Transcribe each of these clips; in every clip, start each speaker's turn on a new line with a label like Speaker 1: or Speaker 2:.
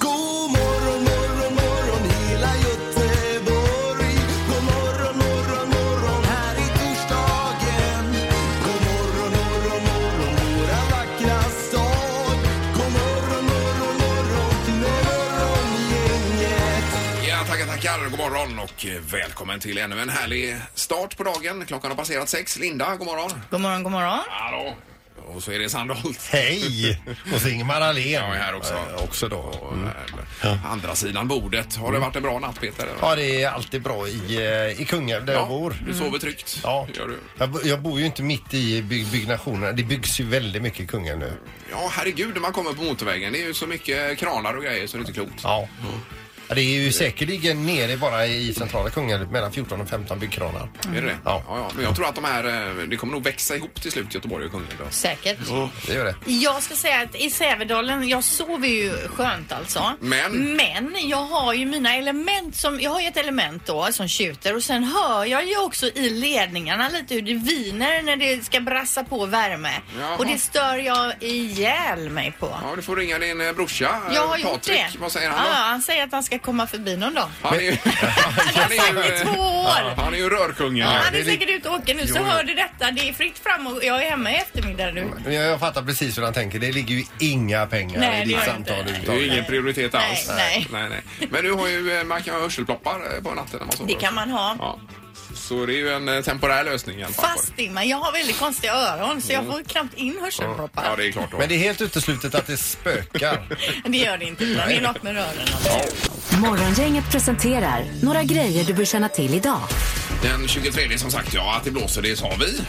Speaker 1: God morgon, morgon, morgon hela Göteborg. God morgon, morgon, morgon här i torsdagen. God morgon, morgon, morgon våra vackra stad. God morgon, morgon, morgon till morgongänget.
Speaker 2: Ja, tackar, tackar. God morgon och eh, välkommen till ännu en härlig start på dagen. Klockan har passerat sex. Linda, god morgon.
Speaker 3: God morgon, god morgon.
Speaker 2: Hallå. Och så är det Sandholt.
Speaker 4: Hej! Och så Ingemar Ahlén.
Speaker 2: Jag är här också.
Speaker 4: Eh, också då.
Speaker 2: Och, eh, Andra sidan bordet. Har det varit en bra natt, Peter?
Speaker 4: Mm. Ja, det är alltid bra i, eh, i Kungälv där jag bor.
Speaker 2: Du sover tryggt?
Speaker 4: Ja,
Speaker 2: Gör du?
Speaker 4: jag, bo- jag bor ju inte mitt i byg byggnationerna. Det byggs ju väldigt mycket i Kungälv nu.
Speaker 2: Ja, herregud, när man kommer på motorvägen. Det är ju så mycket kranar och grejer så det är inte klokt.
Speaker 4: Ja. Ja, Det är ju säkerligen nere bara i centrala Kungälv mellan 14 och 15 byggkranar.
Speaker 2: Är det det?
Speaker 4: Ja.
Speaker 2: ja, Men jag tror att de här, eh, det kommer nog växa ihop till slut, Göteborg och Kungälv.
Speaker 3: Säkert.
Speaker 4: Det gör det.
Speaker 3: Jag ska säga att i Sävedalen, jag sover ju skönt alltså.
Speaker 2: Men?
Speaker 3: Men jag har ju mina element som, jag har ju ett element då som tjuter och sen hör jag ju också i ledningarna lite hur det viner när det ska brassa på värme.
Speaker 2: Jaha.
Speaker 3: Och det stör jag ihjäl mig på.
Speaker 2: Ja, du får ringa din eh, brorsa, eh,
Speaker 3: Jag har gjort
Speaker 2: Patrik.
Speaker 3: det.
Speaker 2: Vad säger han
Speaker 3: Ja,
Speaker 2: då?
Speaker 3: han säger att han ska komma förbi någon dag.
Speaker 2: Han är ju... Han
Speaker 3: Han är två år.
Speaker 2: Han är ju rörkungen.
Speaker 3: han
Speaker 4: det
Speaker 3: är
Speaker 4: är li-
Speaker 3: säkert ute och åker nu, så
Speaker 2: Jo, jo.
Speaker 3: hör du detta. Det är fritt fram och jag är hemma i eftermiddag nu.
Speaker 4: Men Jag, jag fattar precis hur han tänker. Det ligger ju inga pengar
Speaker 3: Nej,
Speaker 4: i
Speaker 3: det gör
Speaker 4: ditt
Speaker 3: det
Speaker 4: samtal
Speaker 3: inte.
Speaker 2: Det är ju
Speaker 4: överhuvudtaget.
Speaker 2: ingen prioritet
Speaker 3: Nej,
Speaker 2: alls.
Speaker 3: nej.
Speaker 2: nej, nej. Men du har ju, eh, man kan ha hörselploppar eh, på natten när man sover.
Speaker 3: Det kan man ha.
Speaker 2: Ja. Så det är ju en eh, temporär lösning i alla fall.
Speaker 3: Fast i mig. Jag har väldigt konstiga öron så jag får knappt in hörselproppar.
Speaker 2: Mm. Ja, det är klart då.
Speaker 4: Men det är helt uteslutet att det spökar.
Speaker 3: det gör det inte. utan Det är något med öronen.
Speaker 5: Morgongänget presenterar några grejer du bör känna till idag.
Speaker 2: Den 23 som sagt, ja, att det blåser, det sa vi.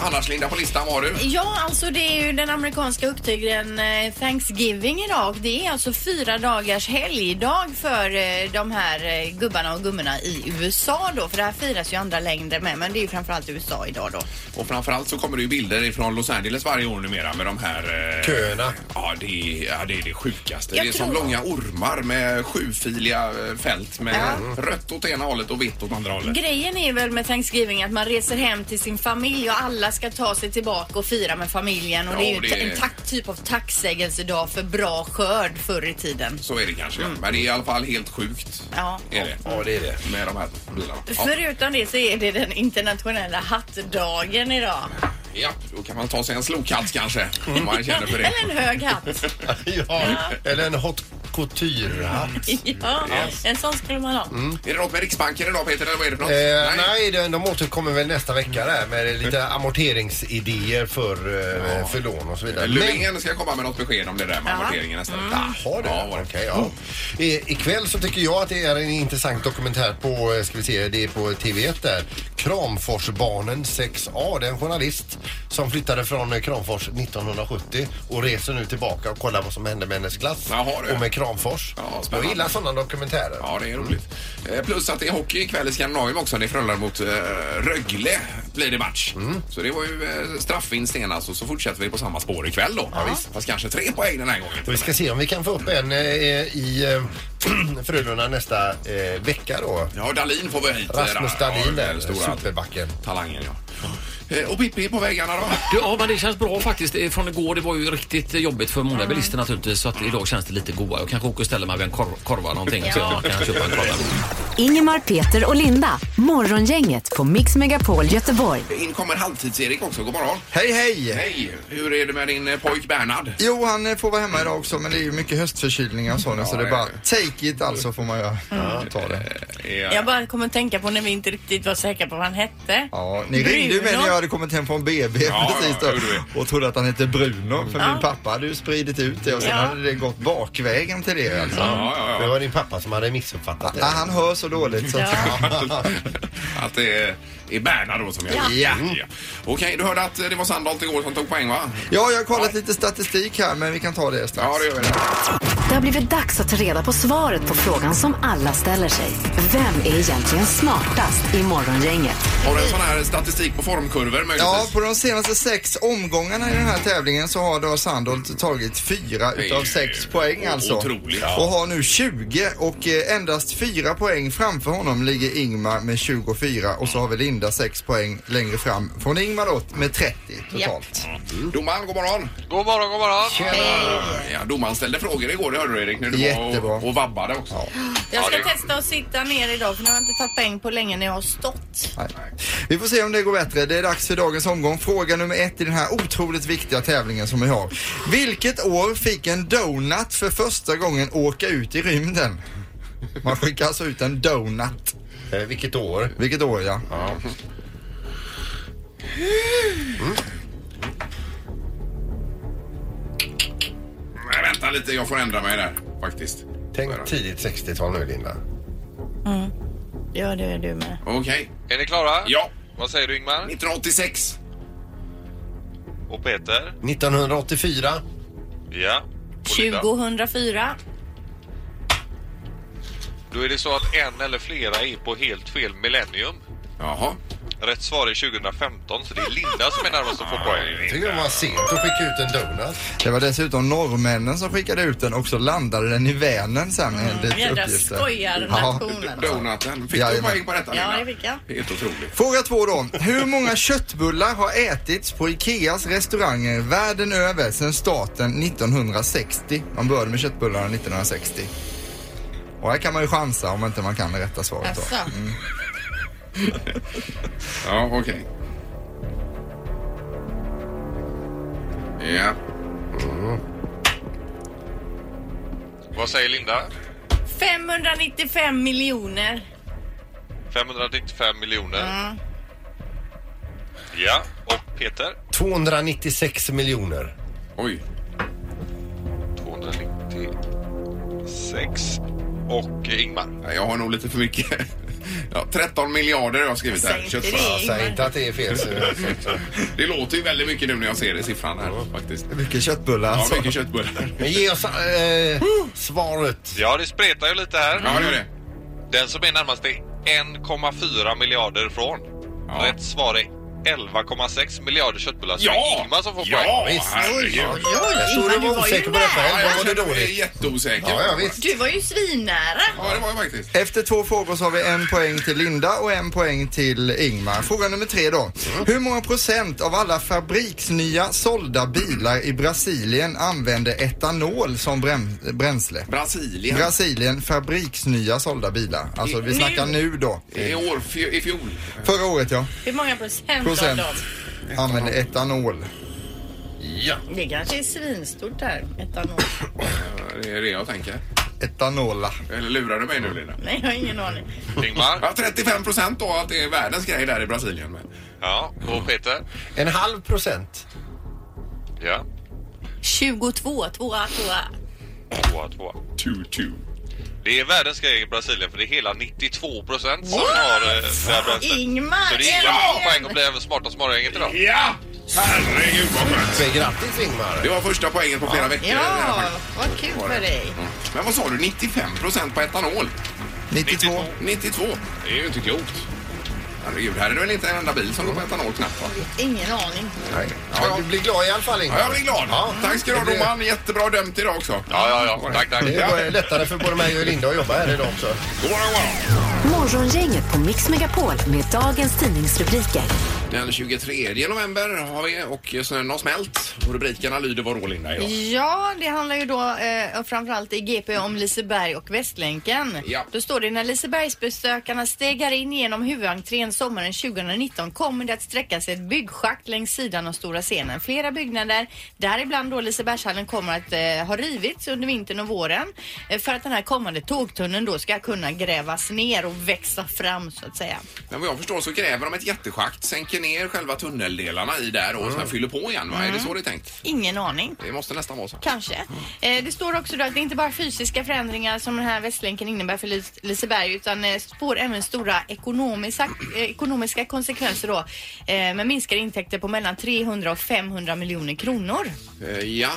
Speaker 2: Annars, Linda, på listan var du.
Speaker 3: Ja, alltså det är ju den amerikanska högtiden eh, Thanksgiving idag. Det är alltså fyra dagars helgdag för eh, de här eh, gubbarna och gummorna i USA då. För det här firas ju i andra länder med, men det är ju framförallt i USA idag då.
Speaker 2: Och framförallt så kommer det ju bilder ifrån Los Angeles varje år numera med de här... eh,
Speaker 4: Köerna.
Speaker 2: Ja, det, är- ja, det är det sjukaste.
Speaker 3: Jag
Speaker 2: det är som
Speaker 3: tror-
Speaker 2: långa ormar med sjufiliga eh, fält med rött åt ena hållet och vitt åt andra hållet.
Speaker 3: Grejen är väl med Thanksgiving att man reser hem till sin familj och alla ska ta sig tillbaka och fira med familjen. Och
Speaker 2: Ja,
Speaker 3: det är ju
Speaker 2: det är-
Speaker 3: en tack, typ av tacksägelsedag för bra skörd förr i tiden.
Speaker 2: Så är det kanske, ja. men det är i alla fall helt sjukt.
Speaker 3: Ja.
Speaker 2: Är det.
Speaker 4: Ja, det är det.
Speaker 2: Med de här bilarna. Ja.
Speaker 3: Förutom det så är det den internationella hattdagen idag.
Speaker 2: ja, då kan man ta sig en slokhatt kanske. Om man känner för det.
Speaker 3: Eller en hög hatt.
Speaker 4: Ja. Eller en haute couture-hatt.
Speaker 3: Ja, en sån skulle man ha.
Speaker 2: Är det något med Riksbanken idag Peter, eller vad är det för något?
Speaker 4: Eh, nej, de, de återkommer väl nästa vecka där
Speaker 2: Mm.
Speaker 4: med lite amorteringsidéer för, eh, för lån och så vidare. Men, Mm.
Speaker 2: Löfven ska komma med något besked om det där med amorteringen nästa vecka.
Speaker 4: har du?
Speaker 2: Ja, var det.
Speaker 4: Okej, ja. I, ikväll så tycker jag att det är en intressant dokumentär på, eh, ska vi se, det är på TV1 där. Kramforsbarnen 6A. Det är en journalist som flyttade från eh, Kramfors 1970 och reser nu tillbaka och kollar vad som hände med hennes glass
Speaker 2: Jaha, du.
Speaker 4: och med Kramfors.
Speaker 2: Ja,
Speaker 4: jag
Speaker 2: spännande.
Speaker 4: gillar sådana dokumentärer.
Speaker 2: Ja, det är roligt. Eh, Plus att det är hockey ikväll i Skandinavien också. Det är Frölunda mot eh, Rögle blir det match.
Speaker 4: Mm.
Speaker 2: Så det var ju eh, straffvinst senast och så fortsätter vi på samma spår ikväll då. Ja, visst. Fast kanske tre poäng den här gången.
Speaker 4: Och vi ska se om vi kan få upp en eh, i eh, Frölunda nästa eh, vecka då.
Speaker 2: Ja, Dahlin får vi hit. eh,
Speaker 4: Rasmus
Speaker 2: Ja,
Speaker 4: Dahlin där,
Speaker 2: den stora
Speaker 4: superbacken.
Speaker 2: talangen ja. Eh, Och Pippi är på vägarna då?
Speaker 6: Ja, men det känns bra faktiskt. Eh, Från igår, det var ju riktigt eh, jobbigt för många bilister naturligtvis. Så att idag känns det lite goa. Jag kanske åker och ställer mig vid en korv, korva någonting så jag kan köpa en korva.
Speaker 5: Ingemar, Peter och Linda. Morgongänget på Mix Megapol Göteborg.
Speaker 2: In kommer halvtids-Erik också. God morgon.
Speaker 7: Hej hej!
Speaker 2: Hej! Hur är det med din eh, pojk Bernhard?
Speaker 7: Jo, han eh, får vara hemma idag också men det är ju mycket höstförkylningar och sådär så det är
Speaker 2: ja,
Speaker 7: bara
Speaker 2: ja.
Speaker 7: take it alltså får man göra. Ta det.
Speaker 3: Jag bara kommer att tänka på när vi inte riktigt var säkra på vad han hette.
Speaker 7: Ja, ni ringde ju mig
Speaker 3: Bruno.
Speaker 7: när jag hade kommit hem från BB
Speaker 2: Ja,
Speaker 7: precis
Speaker 2: ja,
Speaker 7: då
Speaker 2: gjorde
Speaker 7: och trodde att han hette Bruno för
Speaker 3: Ja.
Speaker 7: min pappa hade ju spridit ut det och sen
Speaker 3: Ja.
Speaker 7: hade det gått bakvägen till det alltså.
Speaker 2: Ja, ja,
Speaker 4: Det
Speaker 2: ja.
Speaker 4: var din pappa som hade missuppfattat
Speaker 7: Ah,
Speaker 4: det.
Speaker 7: han hör så dåligt så att,
Speaker 2: Att det är- är Bernhard då som gör det.
Speaker 7: Ja.
Speaker 2: Ja. Okej, du hörde att eh, det var Sandholt igår som tog poäng va?
Speaker 7: Ja, jag har kollat lite statistik här men vi kan ta det strax.
Speaker 2: Ja, det gör vi.
Speaker 5: Det har blivit dags att ta reda på svaret på frågan som alla ställer sig. Vem är egentligen smartast i Morgongänget?
Speaker 2: Har du en sån här statistik på formkurvor
Speaker 7: Ja,
Speaker 2: möjligtvis?
Speaker 7: på de senaste Alltså, sex omgångarna i den här tävlingen så har då Sandholt tagit fyra
Speaker 2: är
Speaker 7: utav
Speaker 2: ju
Speaker 7: sex poäng alltså.
Speaker 2: otroligt.
Speaker 7: Och har nu 20 och eh, endast fyra poäng framför honom ligger Ingmar med 24 och så har vi Linda sex poäng längre fram från Ingmar då med 30 totalt.
Speaker 2: Domaren, god morgon.
Speaker 8: God morgon, god morgon.
Speaker 2: Ja, domaren ställde frågor igår, det hörde du Erik, när du
Speaker 7: Jättebra.
Speaker 2: var och, och vabbade också.
Speaker 3: Jag ska
Speaker 2: Ja, det-
Speaker 3: testa att sitta ner idag för nu har jag inte tagit poäng på länge när jag har stått.
Speaker 7: Nej. Vi får se om det går bättre. Det är dags för dagens omgång. Fråga nummer ett i den här otroligt viktiga tävlingen som vi har. Vilket år fick en donut för första gången åka ut i rymden? Man skickar alltså ut en donut.
Speaker 4: Eh, vilket år?
Speaker 7: Vilket år ja.
Speaker 2: Nej, vänta lite, jag får ändra mig där faktiskt.
Speaker 4: Tänk tidigt 60-tal nu, Linda.
Speaker 3: Ja, det är du med.
Speaker 2: Okej.
Speaker 8: Är ni klara?
Speaker 2: Ja.
Speaker 8: Vad säger du Ingmar?
Speaker 2: 1986.
Speaker 8: Och Peter?
Speaker 4: 1984.
Speaker 8: Ja. Och Linda?
Speaker 3: 2004.
Speaker 8: Då är det så att en eller flera är på helt fel millennium.
Speaker 2: Jaha.
Speaker 8: Rätt svar är 2015, så det är Linda som är närmast att få poäng.
Speaker 4: Jag tycker det var sent att skicka ut en donut.
Speaker 7: Det var dessutom norrmännen som skickade ut den och så landade den i Vänern sen enligt
Speaker 3: Mm. Jädra
Speaker 7: uppgifter.
Speaker 3: skojarnation alltså.
Speaker 2: Donaten. Fick du
Speaker 7: Jajamän.
Speaker 2: poäng på detta
Speaker 3: Ja,
Speaker 2: Linda?
Speaker 3: det fick jag.
Speaker 2: Helt otroligt.
Speaker 7: Fråga två då. Hur många köttbullar har ätits på Ikeas restauranger världen över sedan starten 1960? Man började med köttbullarna 1960. Och här kan man ju chansa om inte man kan det rätta svaret då.
Speaker 3: Alltså.
Speaker 2: Ja, okej. Ja.
Speaker 8: Vad säger Linda?
Speaker 3: 595 miljoner.
Speaker 8: 595 miljoner. Ja, och Peter?
Speaker 4: 296 miljoner.
Speaker 2: Oj.
Speaker 8: 296. Och Ingmar?
Speaker 2: Nej, Jag har nog lite för mycket. Ja, 13 miljarder har jag skrivit
Speaker 3: Säg
Speaker 2: här.
Speaker 3: inte
Speaker 2: Köttfärs.
Speaker 3: det.
Speaker 4: Säg inte att det är fel. så-
Speaker 2: Det låter ju väldigt mycket nu när jag ser det i siffran här faktiskt.
Speaker 7: Mycket köttbullar
Speaker 2: Ja,
Speaker 7: alltså.
Speaker 2: mycket köttbullar.
Speaker 4: Men ge oss eh, svaret.
Speaker 8: Ja, det spretar ju lite här.
Speaker 2: Ja, det är det.
Speaker 8: Den som är närmast är 1,4 miljarder från.
Speaker 2: Ja.
Speaker 8: Rätt svar är 11,6 miljarder köttbullar. Så det är
Speaker 2: Ja!
Speaker 8: Ingmar som får
Speaker 2: Ja,
Speaker 8: poäng.
Speaker 2: visst. Herregud.
Speaker 4: Jag trodde
Speaker 3: Ingmar,
Speaker 4: du
Speaker 3: du
Speaker 4: var
Speaker 3: var ju
Speaker 4: osäker på det
Speaker 2: Ja,
Speaker 4: själv. Då var
Speaker 2: jag
Speaker 4: det
Speaker 2: känner mig
Speaker 4: dåligt.
Speaker 2: jätteosäker.
Speaker 4: Ja, ja, visst.
Speaker 3: Du var ju svinnära.
Speaker 2: Ja, det var jag faktiskt.
Speaker 7: Efter två frågor så har vi en poäng till Linda och en poäng till Ingmar. Fråga nummer tre då. Hur många procent av alla fabriksnya sålda bilar i Brasilien använder etanol som brän- bränsle?
Speaker 2: Brasilien.
Speaker 7: Brasilien, fabriksnya sålda bilar. Alltså vi snackar nu då.
Speaker 2: I år, fj- i fjol.
Speaker 7: Förra året ja,
Speaker 3: Hur många procent,
Speaker 7: Procent.
Speaker 3: av dem?
Speaker 7: använde etanol.
Speaker 3: Det kanske är svinstort där, etanol.
Speaker 2: Det är det jag tänker.
Speaker 7: Etanola.
Speaker 2: Eller lurar du mig nu Linda?
Speaker 3: Nej, jag har ingen aning.
Speaker 8: Ingmar?
Speaker 2: Ja, 35 procent då att det är världens grej där i Brasilien. Men.
Speaker 8: Ja, och Peter?
Speaker 4: En halv procent.
Speaker 8: Ja,
Speaker 3: 22, tvåa, tvåa.
Speaker 8: tvåa, tvåa.
Speaker 2: Two, two.
Speaker 8: Det är världens grej i Brasilien för det är hela 92 procent som har eh, det här bränslet.
Speaker 3: Ingmar,
Speaker 8: Så det är
Speaker 3: äntligen!
Speaker 8: Ingmar poäng och blir även smartast morgongänget idag.
Speaker 2: Ja! Herregud vad skönt.
Speaker 4: Men grattis Ingmar.
Speaker 2: Det var första poängen på flera veckor.
Speaker 3: Ja, vad kul för dig.
Speaker 2: Men vad sa du? 95 procent på etanol?
Speaker 7: 92.
Speaker 2: 92? Det är ju inte klokt. Herregud, här är det väl inte en enda bil som går på etanol knappt va?
Speaker 3: Ingen aning.
Speaker 4: Nej.
Speaker 2: Ja.
Speaker 4: Men du blir glad i alla fall
Speaker 2: Ja,
Speaker 4: Ingmar.
Speaker 2: jag blir glad.
Speaker 4: Ja.
Speaker 2: Tack ska du ha
Speaker 4: Det blir-
Speaker 2: domaren. Jättebra dömt idag också.
Speaker 8: Ja, ja, ja. Tack, tack.
Speaker 4: Det var lättare för både mig och Linda att jobba här idag också.
Speaker 2: God morgon, god morgon.
Speaker 5: Morgongänget på Mix Megapol med dagens tidningsrubriker.
Speaker 2: Den 23 november har vi och snön har smält. Och rubrikerna lyder vad rålinda idag.
Speaker 3: Ja, det handlar ju då eh, framförallt i GP om Liseberg och Västlänken.
Speaker 2: Ja.
Speaker 3: Då står det när Lisebergsbesökarna stegar in genom huvudentrén sommaren 2019 kommer det att sträcka sig ett byggschakt längs sidan av stora scenen. Flera byggnader, däribland då Lisebergshallen, kommer att eh, ha rivits under vintern och våren eh, för att den här kommande tågtunneln då ska kunna grävas ner och växa fram så att säga.
Speaker 2: Men vad jag förstår så gräver de ett jättschakt, sänker åker ner själva tunneldelarna i där och sen fyller på igen va? Är det så det är tänkt?
Speaker 3: Ingen aning.
Speaker 2: Det måste nästan vara så.
Speaker 3: Kanske. Eh, det står också då att det är inte bara fysiska förändringar som den här Västlänken innebär för Lis- Liseberg utan eh, spår även stora ekonomiska, eh, ekonomiska konsekvenser då eh, med minskade intäkter på mellan 300 och 500 miljoner kronor.
Speaker 2: Eh, Ja,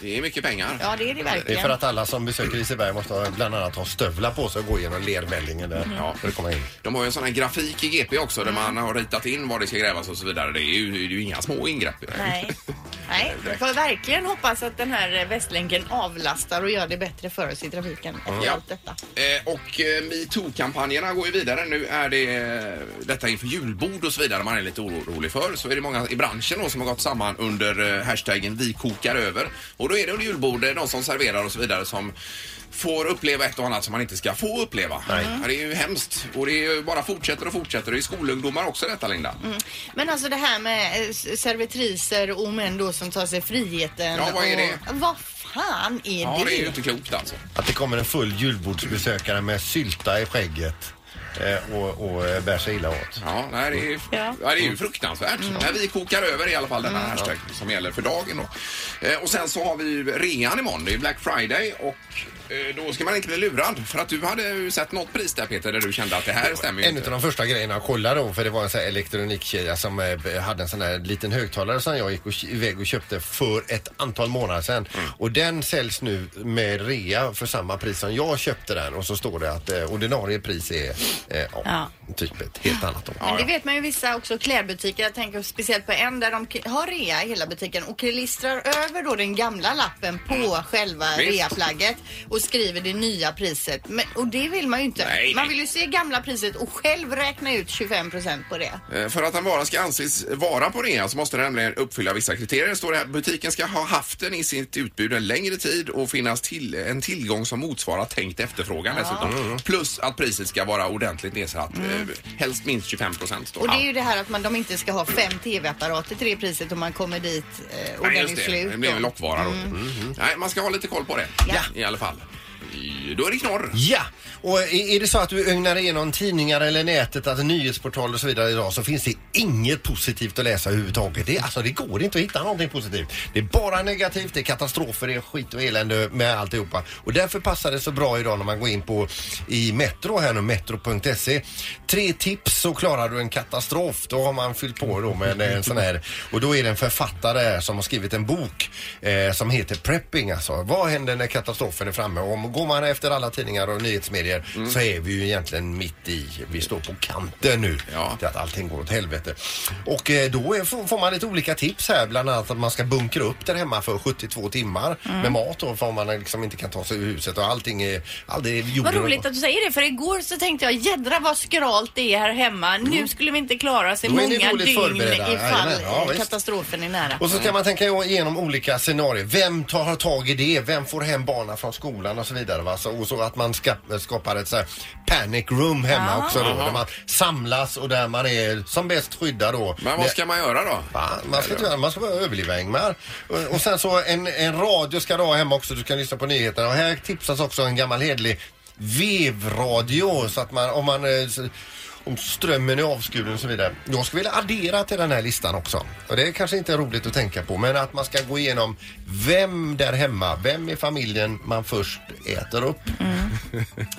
Speaker 2: det är mycket pengar.
Speaker 3: Ja, det är det verkligen.
Speaker 4: Det är för att alla som besöker Liseberg måste ha- bland annat ha stövlar på sig och gå igenom lervällingen där. Mm. Ja, för att komma in.
Speaker 2: De har ju en sån här grafik i GP också där
Speaker 3: Mm.
Speaker 2: man har ritat in vad det ska grävas och så vidare. Det är ju, det är ju inga små ingrepp. i det.
Speaker 3: Nej. Nej, vi får verkligen hoppas att den här eh, Västlänken avlastar och gör det bättre för oss i trafiken efter
Speaker 2: Ja.
Speaker 3: allt detta.
Speaker 2: Eh, och eh, metoo-kampanjerna går ju vidare. Nu är det eh, detta inför julbord och så vidare man är lite orolig för. Så är det många i branschen då som har gått samman under eh, hashtaggen vi kokar över. Och då är det under julbord eh, de som serverar och så vidare som får uppleva ett och annat som man inte ska få uppleva. Ja, Det är ju hemskt. Och det är ju bara fortsätter och fortsätter. Det är ju skolungdomar också detta, Linda.
Speaker 3: Men alltså det här med eh, s- servitriser och män då som tar sig friheten.
Speaker 2: Ja, vad är
Speaker 3: och-
Speaker 2: det?
Speaker 3: Vad fan är
Speaker 2: Ja,
Speaker 3: det?
Speaker 2: det är ju inte klokt alltså.
Speaker 4: Att det kommer en full julbordsbesökare med sylta i skägget eh, och, och eh, bär sig illa åt.
Speaker 2: Ja, nej, det, är, ja.
Speaker 3: Mm. Ja. Mm.
Speaker 2: det är ju fruktansvärt. Men vi kokar över i alla fall den här hashtag som gäller för dagen då. Eh, och sen så har vi ju rean imorgon. Det är ju Black Friday och eh, då ska man inte bli lurad. För att du hade ju sett något pris där Peter där du kände att det här stämmer ju
Speaker 4: En
Speaker 2: inte.
Speaker 4: av de första grejerna jag kollade då, för det var en sån här elektronikkedja som eh, hade en sån här liten högtalare som jag gick och, k- iväg och köpte för ett antal månader sedan. Och den säljs nu med rea för samma pris som jag köpte den och så står det att eh, ordinarie pris är eh, ja,
Speaker 3: Ja.
Speaker 4: typ ett helt annat. Då.
Speaker 3: Men det vet man ju vissa också klädbutiker. Jag tänker speciellt på en där de k- har rea i hela butiken och klistrar över då den gamla lappen på själva
Speaker 2: Mm. Visst.
Speaker 3: reaflagget och skriver det nya priset. Men, och det vill man ju inte.
Speaker 2: Nej, nej.
Speaker 3: man vill ju se gamla priset och själv räkna ut 25 procent på det.
Speaker 2: Eh, För att en vara ska anses vara på rea så måste den nämligen uppfylla vissa kriterier. Står det här. Butiken ska ha haft den i sitt utbud en längre tid och finnas till, en tillgång som motsvarar tänkt efterfrågan
Speaker 3: Mm.
Speaker 2: dessutom. Plus att priset ska vara ordentligt nedsatt. Mm. Helst minst 25 procent.
Speaker 3: Och det är ju det här att man, de inte ska ha fem tv-apparater till det priset om man kommer dit eh, och
Speaker 2: Nej,
Speaker 3: den är
Speaker 2: just det.
Speaker 3: slut.
Speaker 2: Det blev en
Speaker 3: då.
Speaker 2: lockvara då. Mm-hmm. Nej, man ska ha lite koll på det.
Speaker 3: Ja.
Speaker 2: I alla fall. Då är det knorr.
Speaker 4: Ja, och är är det så att du ögnar igenom tidningar eller nätet, alltså nyhetsportaler och så vidare idag så finns det inget positivt att läsa överhuvudtaget. Det, är- alltså det går inte att hitta någonting positivt. Det är bara negativt, det är katastrofer, det är skit och elände med alltihopa. Och därför passar det så bra idag när man går in på i Metro här nu, metro.se. E. Tre tips så klarar du en katastrof. Då har man fyllt på då med en sån här och då är det en författare här som har skrivit en bok eh, som heter Prepping alltså. Vad händer när katastrofen är framme? Om går man efter alla tidningar och nyhetsmedier
Speaker 3: Mm.
Speaker 4: så är vi ju egentligen mitt i, vi står på kanten nu.
Speaker 2: Ja.
Speaker 4: Till att allting går åt helvete. Och eh, då är, får får man lite olika tips här, bland annat att man ska bunkra upp där hemma för 72 timmar
Speaker 3: Mm.
Speaker 4: med mat då, för om man liksom inte kan ta sig ur huset och allting är, aldrig jorden.
Speaker 3: Vad roligt att du säger det för igår så tänkte jag jädra vad skralt det är här hemma.
Speaker 2: Mm.
Speaker 3: Nu skulle vi inte klara oss i
Speaker 4: Då är ni
Speaker 3: många
Speaker 4: dåligt
Speaker 3: dygn
Speaker 4: förberedda.
Speaker 3: ifall
Speaker 4: Jajamän, ja,
Speaker 3: eh,
Speaker 4: visst.
Speaker 3: katastrofen är nära.
Speaker 4: Och så kan man tänka igenom olika scenarier. Vem tar tag i det? Vem får hem barnen från skolan och så vidare? Va? Så, och så att man ska, eh, skapar ett så här panic room hemma också då. Där man samlas och där man är som bäst skyddad då.
Speaker 2: Men vad ska man göra då?
Speaker 4: Va? Man ska, inte göra- man ska bara överleva Ingmar. Och- Och sen så en, en radio ska du ha hemma också. Du kan lyssna på nyheterna. Och här tipsas också en gammal hedlig vevradio så att man om man eh, s- om strömmen är avskuren och så vidare. Jag skulle vilja addera till den här listan också. Och det är kanske inte roligt att tänka på men att man ska gå igenom vem där hemma, vem i familjen man först äter upp.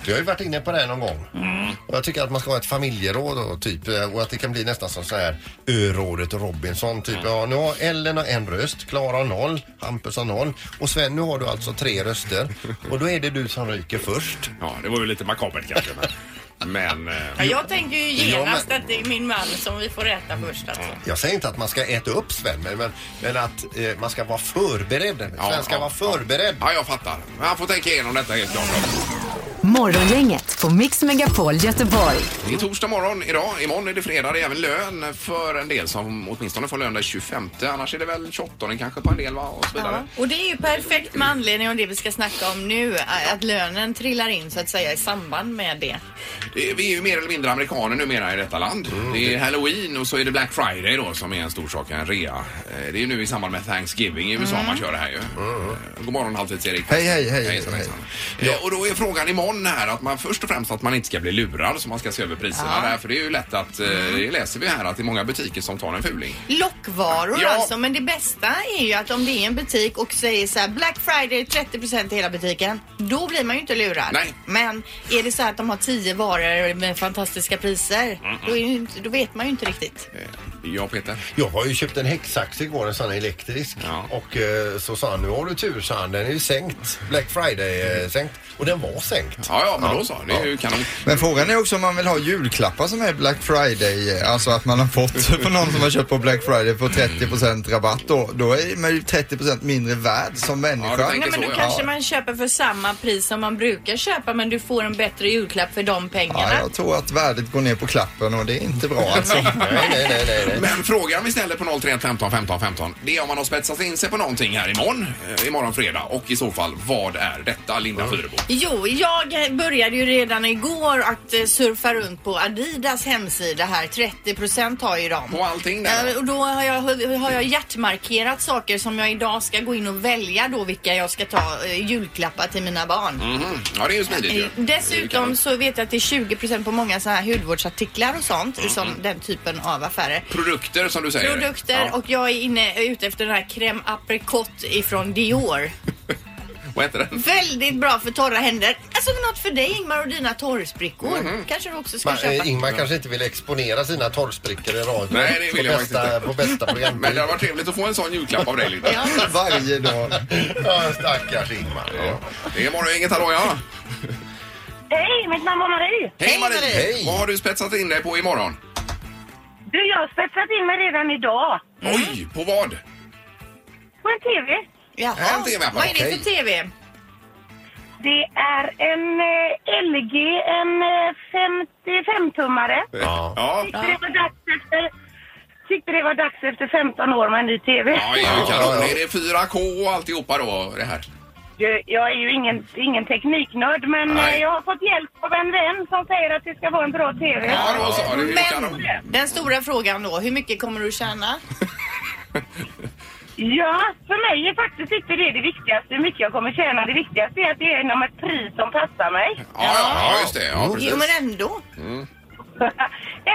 Speaker 4: Vi har ju varit inne på det här någon gång. Och jag tycker att man ska ha ett familjeråd och typ eh, och att det kan bli nästan som så här örådet och Robinson typ. Ja, nu har Ellen har en röst, Klara har noll, Hampus har noll och Sven nu har du alltså tre röster och då är det du som ryker först.
Speaker 2: Ja, det var ju lite makabert kanske. Men, men eh,
Speaker 3: Ja, jag tänker ju
Speaker 4: Ja, men-
Speaker 3: genast att det är min man som vi får äta först alltså.
Speaker 4: Jag säger inte att man ska äta upp Sven men, men, men att eh, man ska vara förberedd. Sven
Speaker 2: Ja,
Speaker 4: ska
Speaker 2: ja,
Speaker 4: vara förberedd.
Speaker 2: ja, jag fattar. Man får tänka igenom detta helt klart.
Speaker 9: Morgongänget på Mix Megapol Göteborg.
Speaker 2: Det är torsdag morgon idag. Imorgon är det fredag. Det är även lön för en del som åtminstone får lön den 25. Annars är det väl 28 kanske på en del va? Och så vidare.
Speaker 3: Och det är ju perfekt med anledning av det vi ska snacka om nu, att lönen trillar in så att säga i samband med det.
Speaker 2: Det, vi är ju mer eller mindre amerikaner numera i detta land.
Speaker 7: Mm,
Speaker 2: Det är halloween och så är det Black Friday då som är en stor sak, en rea. Eh, Det är ju nu i samband med Thanksgiving i USA man kör det här ju. Mm. God morgon halvtids-Erik.
Speaker 7: mm. Hej, hej, hej.
Speaker 2: Hejsan, hejsan. Eh, Och då är frågan imorgon John här att man först och främst att man inte ska bli lurad så man ska se över priserna där. För det är ju lätt att, eh, det läser vi här, att det är många butiker som tar en fuling.
Speaker 3: Lockvaror
Speaker 2: Ja.
Speaker 3: alltså, men det bästa är ju att om det är en butik och säger så här Black Friday 30% i hela butiken, då blir man ju inte lurad.
Speaker 2: Nej.
Speaker 3: Men är det så här att de har 10 varor med fantastiska priser, Då, är det ju inte, då vet man ju inte riktigt.
Speaker 2: Eh, Ja, Peter.
Speaker 4: Jag har ju köpt en häcksax igår, en sån här elektrisk.
Speaker 2: Ja.
Speaker 4: Och eh, så sa han, nu har du tur, sa han. Den är ju sänkt. Black Friday eh, sänkt. Och den var sänkt.
Speaker 2: Ja, ja, men då så. Det är ju kanon.
Speaker 7: Men frågan är också om man vill ha julklappar som är Black Friday, eh, alltså att man har fått på någon som har köpt på Black Friday på 30% rabatt då. Då är man ju 30% mindre värd som människa.
Speaker 2: Ja, det tänker
Speaker 3: Nej, men då
Speaker 2: så, ja.
Speaker 3: kanske man köper för samma pris som man brukar köpa men du får en bättre julklapp för de pengarna.
Speaker 7: Ja, jag tror att värdet går ner på klappen och det är inte bra alltså.
Speaker 4: Nej, nej, nej, nej. nej.
Speaker 2: Men frågan vi ställer på 031 15 15 15 det är om man har spetsat in sig på någonting här imorgon, eh, imorgon fredag och i så fall vad är detta Linda Fyrebo?
Speaker 3: Jo, jag började ju redan igår att eh, surfa runt på Adidas hemsida här. 30% har ju de.
Speaker 2: På allting där?
Speaker 3: Eh, Och då har jag, har jag hjärtmarkerat saker som jag idag ska gå in och välja då vilka jag ska ta eh, julklappar till mina barn.
Speaker 2: Mhm. Ja, det är ju smidigt ju.
Speaker 3: Eh, Dessutom så vet jag att det är 20% på många sådana här hudvårdsartiklar och sånt.
Speaker 2: Mm,
Speaker 3: Som den typen av affärer.
Speaker 2: Produkter som du säger.
Speaker 3: Produkter
Speaker 2: Ja.
Speaker 3: och jag är inne, ute efter den här crème apricot ifrån Dior.
Speaker 2: Vad heter den?
Speaker 3: Väldigt bra för torra händer. Alltså något för dig Ingmar och dina torrsprickor. Kanske du också ska
Speaker 4: Man, eh,
Speaker 3: köpa.
Speaker 4: Ingmar kanske inte vill exponera sina torrsprickor i radio.
Speaker 2: Nej, det vill
Speaker 4: på
Speaker 2: jag
Speaker 4: bästa,
Speaker 2: faktiskt
Speaker 4: På bästa
Speaker 2: Men
Speaker 4: programtid.
Speaker 2: det har varit trevligt att få en sån julklapp av dig Linda.
Speaker 3: Ja.
Speaker 7: Varje dag.
Speaker 4: Ja, stackars Ingmar. Ja.
Speaker 2: Det är morgongänget, hallå ja.
Speaker 10: Hej, mitt namn var Marie.
Speaker 2: Hej Marie!
Speaker 3: Marie.
Speaker 4: Hej.
Speaker 2: Vad har du spetsat in dig på imorgon?
Speaker 10: Du, jag har spetsat in mig redan idag.
Speaker 3: Mm.
Speaker 2: Oj, på vad?
Speaker 10: På en TV.
Speaker 3: Jaha.
Speaker 2: En TV-apparat,
Speaker 3: Vad är det för TV?
Speaker 10: Det är en eh, LG, en eh, 55-tummare.
Speaker 2: Ja. Ja,
Speaker 10: Tyckte det var dags efter... Tyckte det var dags efter 15 år med en ny TV.
Speaker 2: det är ju kanon. Är det 4K och alltihopa då? Det här?
Speaker 10: Du, Jag är ju ingen, ingen tekniknörd, men
Speaker 2: Nej.
Speaker 10: eh, jag har fått hjälp av en vän som säger att det ska vara en bra TV.
Speaker 2: Ja, då så. Det är ju kanon.
Speaker 3: Men den stora frågan då, hur mycket kommer du tjäna?
Speaker 10: Ja, för mig är faktiskt inte det det viktigaste, hur mycket jag kommer tjäna. Det viktigaste är att det är inom ett pris som passar mig.
Speaker 2: Ja, ja, ja, just det. Ja, precis.
Speaker 3: Jo men ändå.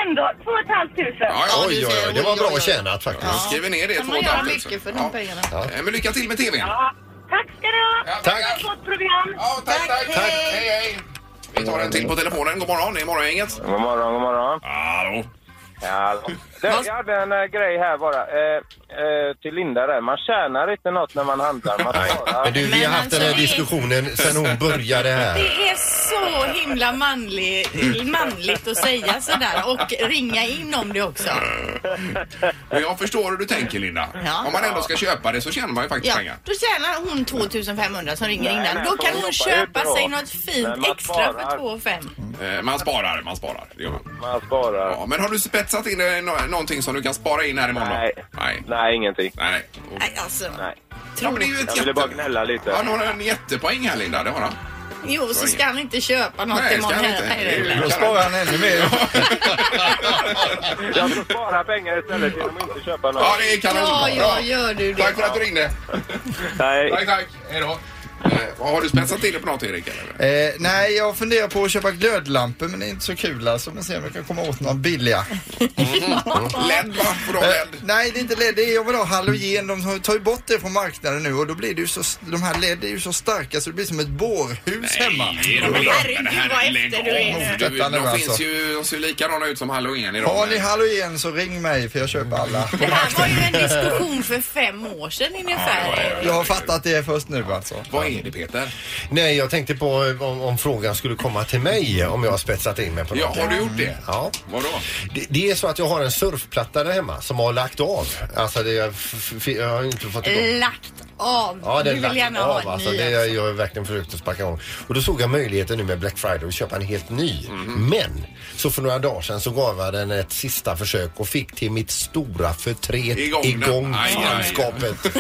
Speaker 10: Ändå, 2 500.
Speaker 2: Ja, ja.
Speaker 3: Ja,
Speaker 4: Oj,
Speaker 3: du
Speaker 4: oj,
Speaker 3: säger
Speaker 4: oj. Det var
Speaker 3: oj, oj,
Speaker 4: bra
Speaker 3: oj.
Speaker 4: tjänat faktiskt.
Speaker 2: Jag skriver ner det.
Speaker 3: Kan
Speaker 2: två
Speaker 3: man
Speaker 2: och ett
Speaker 3: göra
Speaker 2: halvt
Speaker 3: mycket
Speaker 2: tusen.
Speaker 3: för de pengarna?
Speaker 2: Eh, Men lycka till med TVn.
Speaker 10: Ja, tack ska du ha.
Speaker 2: Ja,
Speaker 4: Tack.
Speaker 10: Gott program.
Speaker 2: Ja, tack, tack. Hej, hej. Vi tar en till på telefonen. God morgon, det är morgongänget.
Speaker 11: God morgon, god morgon.
Speaker 2: Hallå.
Speaker 11: Ja, du, jag hade en eh, grej här bara. Eh, eh, till Linda där. Man tjänar inte något när man handlar. Man
Speaker 4: Nej. Men
Speaker 11: sparar.
Speaker 4: du, vi
Speaker 3: Men
Speaker 4: har haft
Speaker 3: alltså,
Speaker 4: den här
Speaker 3: det är-
Speaker 4: diskussionen sen hon började här.
Speaker 3: Det är så himla manlig, manligt att säga sådär och ringa in om det också.
Speaker 2: Och Jag förstår hur du tänker, Linda.
Speaker 3: Ja.
Speaker 2: Om man ändå ska köpa det så tjänar man ju faktiskt
Speaker 3: Ja,
Speaker 2: pengar.
Speaker 3: då tjänar hon 2500 som ringer
Speaker 11: Nej,
Speaker 3: innan.
Speaker 11: nej,
Speaker 3: Då
Speaker 11: hon
Speaker 3: kan hon
Speaker 11: jobbar
Speaker 3: köpa
Speaker 11: ju bra.
Speaker 3: sig något
Speaker 11: Men
Speaker 3: fint
Speaker 11: man
Speaker 3: extra för
Speaker 11: sparar.
Speaker 3: 2500.
Speaker 2: Eh, Man sparar, man sparar. Det gör man.
Speaker 11: Man sparar.
Speaker 2: Ja, men har du spetsat in eh, nå- någonting som du kan spara in här imorgon? då?
Speaker 11: Nej.
Speaker 2: Nej.
Speaker 11: Nej, ingenting.
Speaker 2: Nej, nej.
Speaker 3: Nej, alltså.
Speaker 11: Nej.
Speaker 2: Ja, men det är ju ett
Speaker 11: Jag ville bara gnälla lite.
Speaker 2: Han har en jättepoäng här, Linda. Det har han.
Speaker 3: Jo, så ska han inte köpa något
Speaker 2: Nej, ska
Speaker 3: imorgon
Speaker 2: han inte.
Speaker 3: heller.
Speaker 2: Det är ju-
Speaker 7: Då sparar han ännu mer.
Speaker 11: Jag får spara pengar istället genom att inte köpa något.
Speaker 2: Ja, det är kanon.
Speaker 3: Ja,
Speaker 2: Bra.
Speaker 3: ja, gör du det.
Speaker 2: Tack för att du ringde.
Speaker 11: Nej.
Speaker 2: Tack, tack. Hej då. Eh, Har du spetsat till det på något, Erik? Eller?
Speaker 7: Eh, nej, jag funderar på att köpa glödlampor men det är inte så kul alltså. Men se om jag kan komma åt några billiga.
Speaker 2: LED, va? Får du ha
Speaker 7: Eh,
Speaker 2: LED?
Speaker 7: nej, det är inte LED. Det är, jag vill ha halogen. De har- tar ju bort det från marknaden nu och då blir det ju så, de här LED är ju så starka så det blir som ett bårhus hemma.
Speaker 2: men
Speaker 3: herregud, vad efter du är.
Speaker 2: Du,
Speaker 7: Detta nu
Speaker 2: de
Speaker 7: alltså.
Speaker 2: finns ju, de ser ju likadana ut som halogen idag.
Speaker 7: Har
Speaker 2: men-
Speaker 7: ni halogen så ring mig för jag köper alla.
Speaker 3: Det här var ju en diskussion för fem år sedan ungefär.
Speaker 7: Jag har fattat det först nu alltså.
Speaker 2: Vad är det Peter?
Speaker 4: Nej, jag tänkte på eh, om, om frågan skulle komma till mig om jag har spetsat in mig på
Speaker 2: Ja,
Speaker 4: något.
Speaker 2: har du gjort det?
Speaker 4: Ja.
Speaker 2: Vadå?
Speaker 4: Det, det är så att jag har en surfplatta där hemma som har lagt av. Alltså det, jag, f- f- jag har inte fått igång.
Speaker 3: Lagt av.
Speaker 4: Ja,
Speaker 3: du
Speaker 4: den
Speaker 3: vill
Speaker 4: lagt
Speaker 3: gärna
Speaker 4: av
Speaker 3: ha en
Speaker 4: alltså.
Speaker 3: ny.
Speaker 4: Det,
Speaker 3: alltså.
Speaker 4: jag har verkligen försökt att sparka igång. Och då såg jag möjligheten nu med Black Friday att köpa en helt ny. Men så för några dagar sedan så gav jag den ett sista försök och fick till mitt stora förtret
Speaker 2: Igång
Speaker 4: igång,
Speaker 2: den. Aj, aj, aj.
Speaker 4: fanskapet.